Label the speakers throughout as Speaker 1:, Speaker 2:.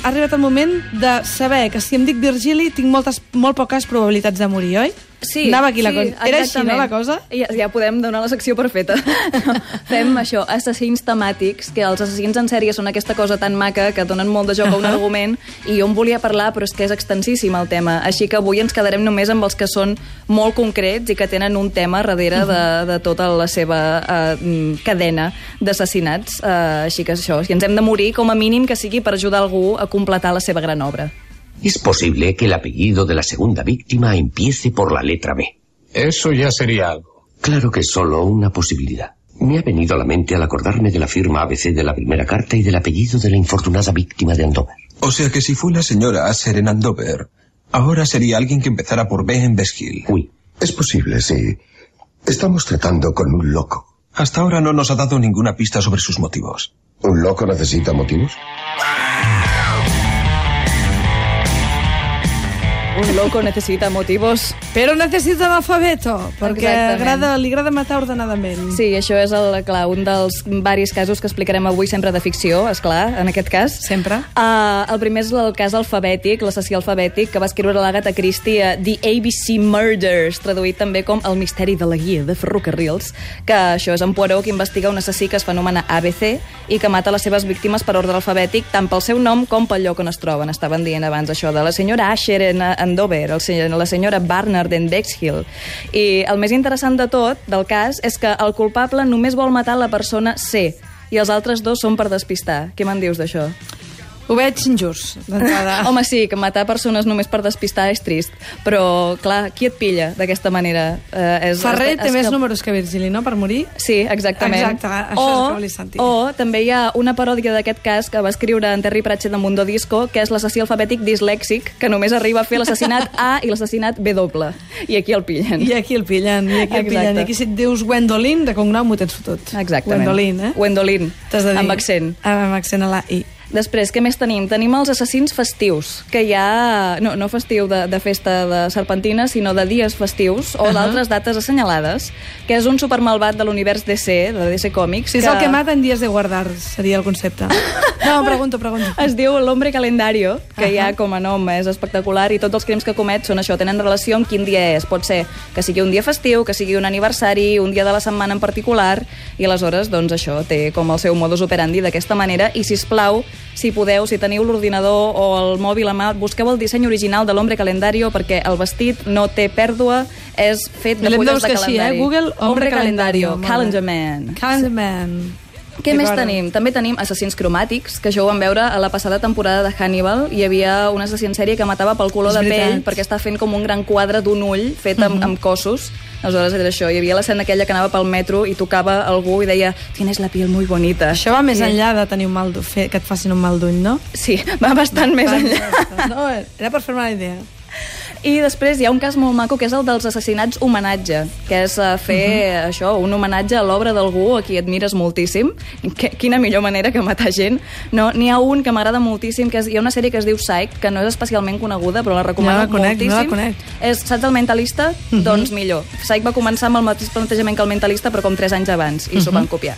Speaker 1: Ha arribat el moment de saber que si em dic Virgili tinc moltes, molt poques probabilitats de morir, oi?
Speaker 2: Sí,
Speaker 1: Anava aquí la
Speaker 2: sí,
Speaker 1: cosa. Era així, no,
Speaker 2: exactament.
Speaker 1: la cosa?
Speaker 2: Ja, ja podem donar la secció per feta. Fem això, assassins temàtics, que els assassins en sèrie són aquesta cosa tan maca que donen molt de joc a un argument, i jo en volia parlar, però és que és extensíssim el tema. Així que avui ens quedarem només amb els que són molt concrets i que tenen un tema darrere de, de tota la seva eh, cadena d'assassinats. Eh, així que això, si ens hem de morir, com a mínim que sigui per ajudar algú a completar la seva gran obra.
Speaker 3: Es posible que el apellido de la segunda víctima empiece por la letra B.
Speaker 4: Eso ya sería algo.
Speaker 3: Claro que es solo una posibilidad. Me ha venido a la mente al acordarme de la firma ABC de la primera carta y del apellido de la infortunada víctima de Andover.
Speaker 5: O sea que si fue la señora Asher en Andover, ahora sería alguien que empezara por B en Beshill.
Speaker 3: Uy,
Speaker 6: Es posible, sí. Estamos tratando con un loco.
Speaker 5: Hasta ahora no nos ha dado ninguna pista sobre sus motivos.
Speaker 6: ¿Un loco necesita motivos?
Speaker 2: Un loco necessita motivos
Speaker 1: Però necessita l'alfabeto, perquè
Speaker 2: Exactament.
Speaker 1: agrada, li agrada matar ordenadament.
Speaker 2: Sí, això és el, clar, un dels varis casos que explicarem avui sempre de ficció, és clar, en aquest cas.
Speaker 1: Sempre.
Speaker 2: Uh, el primer és el cas alfabètic, l'assassí alfabètic, que va escriure l'Agatha Christie a The ABC Murders, traduït també com El misteri de la guia de ferrocarrils, que això és en Poirot que investiga un assassí que es anomena ABC i que mata les seves víctimes per ordre alfabètic tant pel seu nom com pel lloc on es troben. Estaven dient abans això de la senyora Asher en Andover, el se- la senyora Barnard en Bexhill. I el més interessant de tot, del cas, és que el culpable només vol matar la persona C, i els altres dos són per despistar. Què me'n dius d'això?
Speaker 1: Ho veig injust, d'entrada.
Speaker 2: Home, sí, que matar persones només per despistar és trist, però, clar, qui et pilla d'aquesta manera? Eh, és,
Speaker 1: Ferrer
Speaker 2: és-
Speaker 1: té
Speaker 2: és
Speaker 1: més
Speaker 2: que-
Speaker 1: números que Virgili, no?, per morir.
Speaker 2: Sí, exactament.
Speaker 1: Exacte, això és el que volia sentir.
Speaker 2: O també hi ha una paròdia d'aquest cas que va escriure en Terry Pratchett de Mundo Disco, que és l'assassí alfabètic dislèxic, que només arriba a fer l'assassinat A i l'assassinat W. I aquí el pillen.
Speaker 1: I aquí el pillen, i aquí el
Speaker 2: Exacte.
Speaker 1: pillen. I aquí si et dius Gwendolyn, de cognom ho tens fotut.
Speaker 2: Exactament.
Speaker 1: Gwendolyn, eh?
Speaker 2: Gwendolyn,
Speaker 1: T'has de dir.
Speaker 2: amb accent.
Speaker 1: Amb accent a la I.
Speaker 2: Després, què més tenim? Tenim els assassins festius, que hi ha... No, no festiu de, de festa de serpentina, sinó de dies festius o d'altres dates assenyalades, que és un supermalvat de l'univers DC, de DC Comics.
Speaker 1: Si és el que mata en dies de guardar, seria el concepte. No, pregunto, pregunto.
Speaker 2: Es diu l'Hombre Calendario, que hi ha com a nom, és espectacular, i tots els crims que comet són això, tenen relació amb quin dia és. Pot ser que sigui un dia festiu, que sigui un aniversari, un dia de la setmana en particular, i aleshores, doncs això, té com el seu modus operandi d'aquesta manera, i si plau, si podeu, si teniu l'ordinador o el mòbil a mà, busqueu el disseny original de l'Hombre Calendario, perquè el vestit no té pèrdua, és fet de
Speaker 1: L'hem de
Speaker 2: fulles de
Speaker 1: buscar així,
Speaker 2: calendari.
Speaker 1: eh? Google, Hombre, Calendario. Molt bé.
Speaker 2: Calendar Man.
Speaker 1: Calendar Man.
Speaker 2: Què més
Speaker 1: D'acord.
Speaker 2: tenim? També tenim assassins cromàtics, que això ho vam veure a la passada temporada de Hannibal. Hi havia un assassí en sèrie que matava pel color
Speaker 1: És
Speaker 2: de
Speaker 1: veritat. Mhm.
Speaker 2: pell perquè està fent com un gran quadre d'un ull fet amb, amb cossos. Aleshores era això. Hi havia l'escena aquella que anava pel metro i tocava algú i deia «Tienes la piel muy bonita».
Speaker 1: Això va més
Speaker 2: I-
Speaker 1: enllà de tenir un mal d'u- fer, que et facin un mal d'ull, no?
Speaker 2: Sí, va bastant més enllà.
Speaker 1: No, era per fer-me la idea.
Speaker 2: I després hi ha un cas molt maco que és el dels assassinats homenatge, que és eh, fer
Speaker 1: Mhm.
Speaker 2: eh, això, un homenatge a l'obra d'algú a qui admires moltíssim. Que, quina millor manera que matar gent. No, n'hi ha un que m'agrada moltíssim, que és, hi ha una sèrie que es diu Psych, que no és especialment coneguda, però la recomano
Speaker 1: No la conec, no
Speaker 2: moltíssim.
Speaker 1: la conec.
Speaker 2: És, saps el mentalista?
Speaker 1: Mhm.
Speaker 2: Doncs millor. Psych va començar amb el mateix plantejament que el mentalista, però com 3 anys abans, i
Speaker 1: Mhm.
Speaker 2: s'ho van copiar.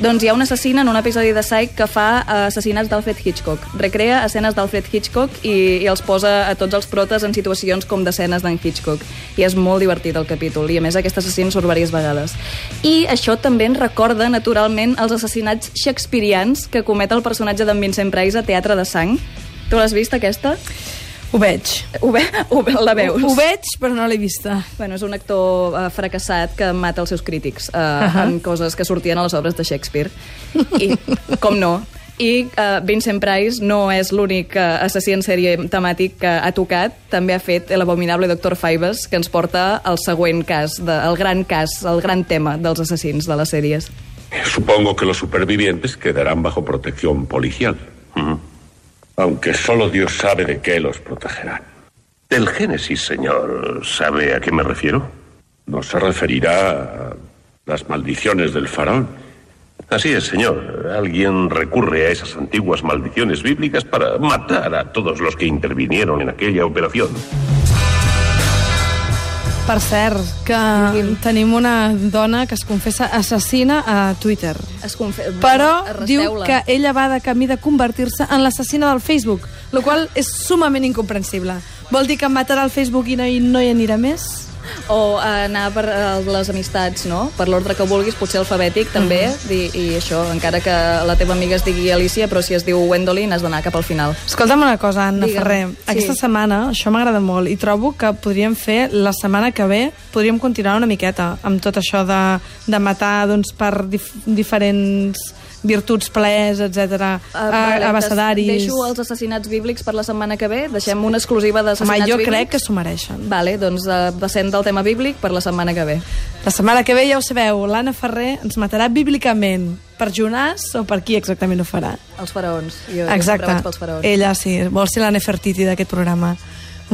Speaker 2: Doncs hi ha un assassina en un episodi de Psych que fa eh, assassinats d'Alfred Hitchcock. Recrea escenes d'Alfred Hitchcock i, i els posa a tots els protes en situacions com d'escenes d'en Hitchcock. I és molt divertit el capítol, i a més aquest assassin surt diverses vegades. I això també ens recorda, naturalment, els assassinats shakespearians que comet el personatge d'en Vincent Price a Teatre de Sang. Tu l'has vist, aquesta?
Speaker 1: Ho veig.
Speaker 2: Ho ve, ho ve, la veus?
Speaker 1: Ho, ho veig, però no l'he vista.
Speaker 2: Bueno, és un actor uh, fracassat que mata els seus crítics uh, uh -huh. amb coses que sortien a les obres de Shakespeare. I, com no, i uh, Vincent Price no és l'únic uh, assassí en sèrie temàtic que ha tocat. També ha fet l'abominable Dr. Fibes, que ens porta al següent cas, de, el gran cas, el gran tema dels assassins de les sèries.
Speaker 7: Eh, Supongo que los supervivientes quedarán bajo protección policial. Aunque solo Dios sabe de qué los protegerán.
Speaker 8: Del Génesis, señor. ¿Sabe a qué me refiero?
Speaker 7: No se referirá a las maldiciones del faraón.
Speaker 8: Así es, señor. Alguien recurre a esas antiguas maldiciones bíblicas para matar a todos los que intervinieron en aquella operación.
Speaker 1: Per cert, que tenim una dona que es confessa assassina a Twitter.
Speaker 2: Es confe...
Speaker 1: Però
Speaker 2: Arresteu-la.
Speaker 1: diu que ella va de camí de convertir-se en l'assassina del Facebook, la qual és sumament incomprensible. Vol dir que matarà el Facebook i no hi, no hi anirà més?
Speaker 2: O anar per eh, les amistats, no? Per l'ordre que vulguis, potser alfabètic, també.
Speaker 1: Mm-hmm.
Speaker 2: I, I això, encara que la teva amiga es digui Alicia, però si es diu Wendolin, has d'anar cap al final.
Speaker 1: Escolta'm una cosa, Anna
Speaker 2: Digue'm.
Speaker 1: Ferrer.
Speaker 2: Sí.
Speaker 1: Aquesta setmana, això m'agrada molt, i trobo que podríem fer la setmana que ve, podríem continuar una miqueta amb tot això de, de matar doncs, per dif diferents virtuts, plaers, etc.
Speaker 2: Eh,
Speaker 1: Uh,
Speaker 2: vale,
Speaker 1: abecedaris...
Speaker 2: Deixo els assassinats bíblics per la setmana que ve. Deixem una exclusiva
Speaker 1: Home,
Speaker 2: d'assassinats
Speaker 1: jo
Speaker 2: bíblics.
Speaker 1: crec que s'ho mereixen.
Speaker 2: Vale, doncs eh, passem del tema bíblic per la setmana que ve.
Speaker 1: La setmana que ve, ja ho sabeu, l'Anna Ferrer ens matarà bíblicament. Per Jonàs o per qui exactament ho farà?
Speaker 2: Els faraons. Jo, jo sempre
Speaker 1: Exacte.
Speaker 2: vaig pels faraons.
Speaker 1: Ella, sí, vol ser la Nefertiti d'aquest programa.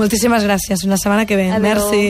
Speaker 1: Moltíssimes gràcies. Una setmana que ve.
Speaker 2: Adéu.
Speaker 1: Merci.